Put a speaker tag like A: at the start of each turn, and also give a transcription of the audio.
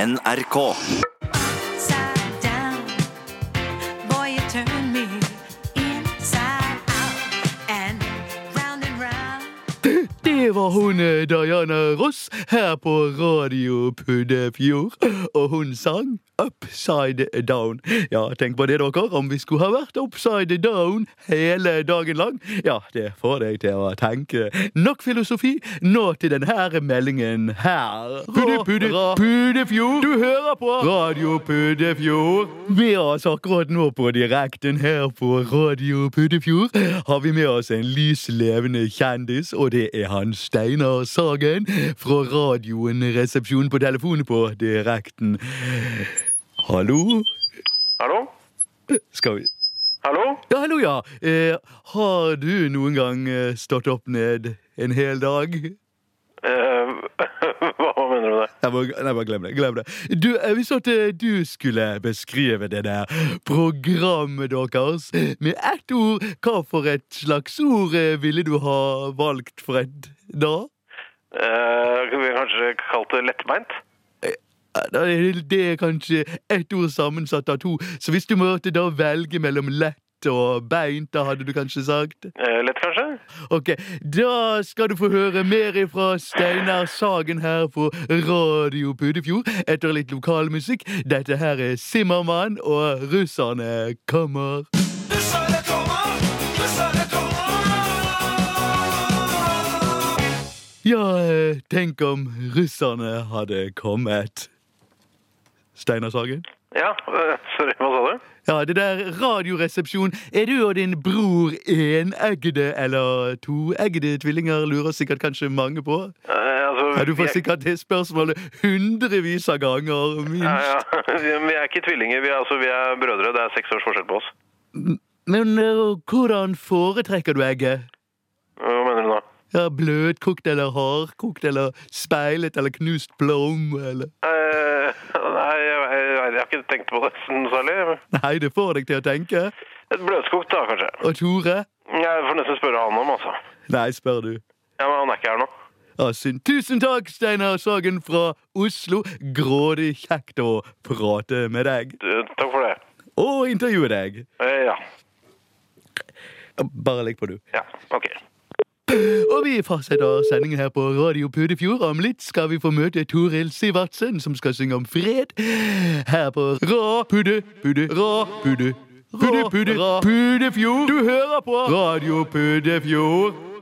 A: NRK.
B: upside down. Boy, you turn me inside out and round and round.
C: Det var hun eh, Diana Ross her på Radio Puddefjord. Og hun sang Upside Down. Ja, tenk på det, dere. Om vi skulle ha vært upside down hele dagen lang. Ja, det får deg til å tenke. Nok filosofi. Nå til denne meldingen her. Pudde, pudde, Puddefjord. Du hører på Radio Puddefjord. Med oss altså akkurat nå på direkten her på Radio Puddefjord har vi med oss en lys levende kjendis, og det er han Steinar Sagen fra radioen Resepsjon på telefonen på direkten. Hallo?
D: Hallo?
C: Skal vi
D: Hallo?
C: Ja, hallo, ja. Eh, har du noen gang eh, stått opp ned en hel dag?
D: Eh, hva mener du med det?
C: Jeg må, nei, bare glem det. glem det. Du, eh, Hvis at eh, du skulle beskrive det der programmet deres med ett ord, hva for et slags ord eh, ville du ha valgt, Fred, da?
D: Eh, vi har kanskje kalt det lettbeint?
C: Eh, da er Det det er kanskje ett ord sammensatt av to, så hvis du måtte da velge mellom lett og beint, da hadde du kanskje sagt?
D: Eh, lett, kanskje?
C: Ok, Da skal du få høre mer ifra Steinar Sagen her på Radio Pudefjord etter litt lokalmusikk. Dette her er Simmermann og Russerne kommer. Ja, eh, tenk om russerne hadde kommet. Steinar Sagen?
D: Ja, eh, sorry, hva sa du?
C: Ja, det der radioresepsjon. Er du og din bror eneggede eller toeggede tvillinger, lurer sikkert kanskje mange på.
D: Eh, altså,
C: Ja, du får
D: vi er-
C: sikkert det spørsmålet hundrevis av ganger,
D: Ja,
C: minst.
D: ja. Vi er ikke tvillinger, vi er, altså, vi er brødre. Det er seks års forskjell på oss.
C: Men eh, hvordan foretrekker du egget?
D: Hva mener du nå?
C: Ja, Bløtkokt eller hardkokt eller speilet eller knust plomme eller
D: Eh, nei, jeg, jeg, jeg har ikke tenkt på det sånn særlig.
C: Nei, det får deg til å tenke.
D: Et bløtskokt, da, kanskje.
C: Og Tore?
D: Jeg får nesten spørre han om, altså.
C: Nei, spør du.
D: Ja, men han er ikke her nå.
C: Ja, synd. Tusen takk, Steinar Sagen fra Oslo. Grådig kjekt å prate med deg.
D: Du, Takk for det.
C: Og intervjue deg.
D: Eh, ja.
C: Bare legg på, du.
D: Ja, OK.
C: Og vi fortsetter sendingen her på Radio Pudefjord. Om litt skal vi få møte Toril Sivertsen, som skal synge om fred. Her på Rå Pude, Pude, Rå Pude. Pude, Pude, Rå Pudefjord. Du hører på Radio Pudefjord.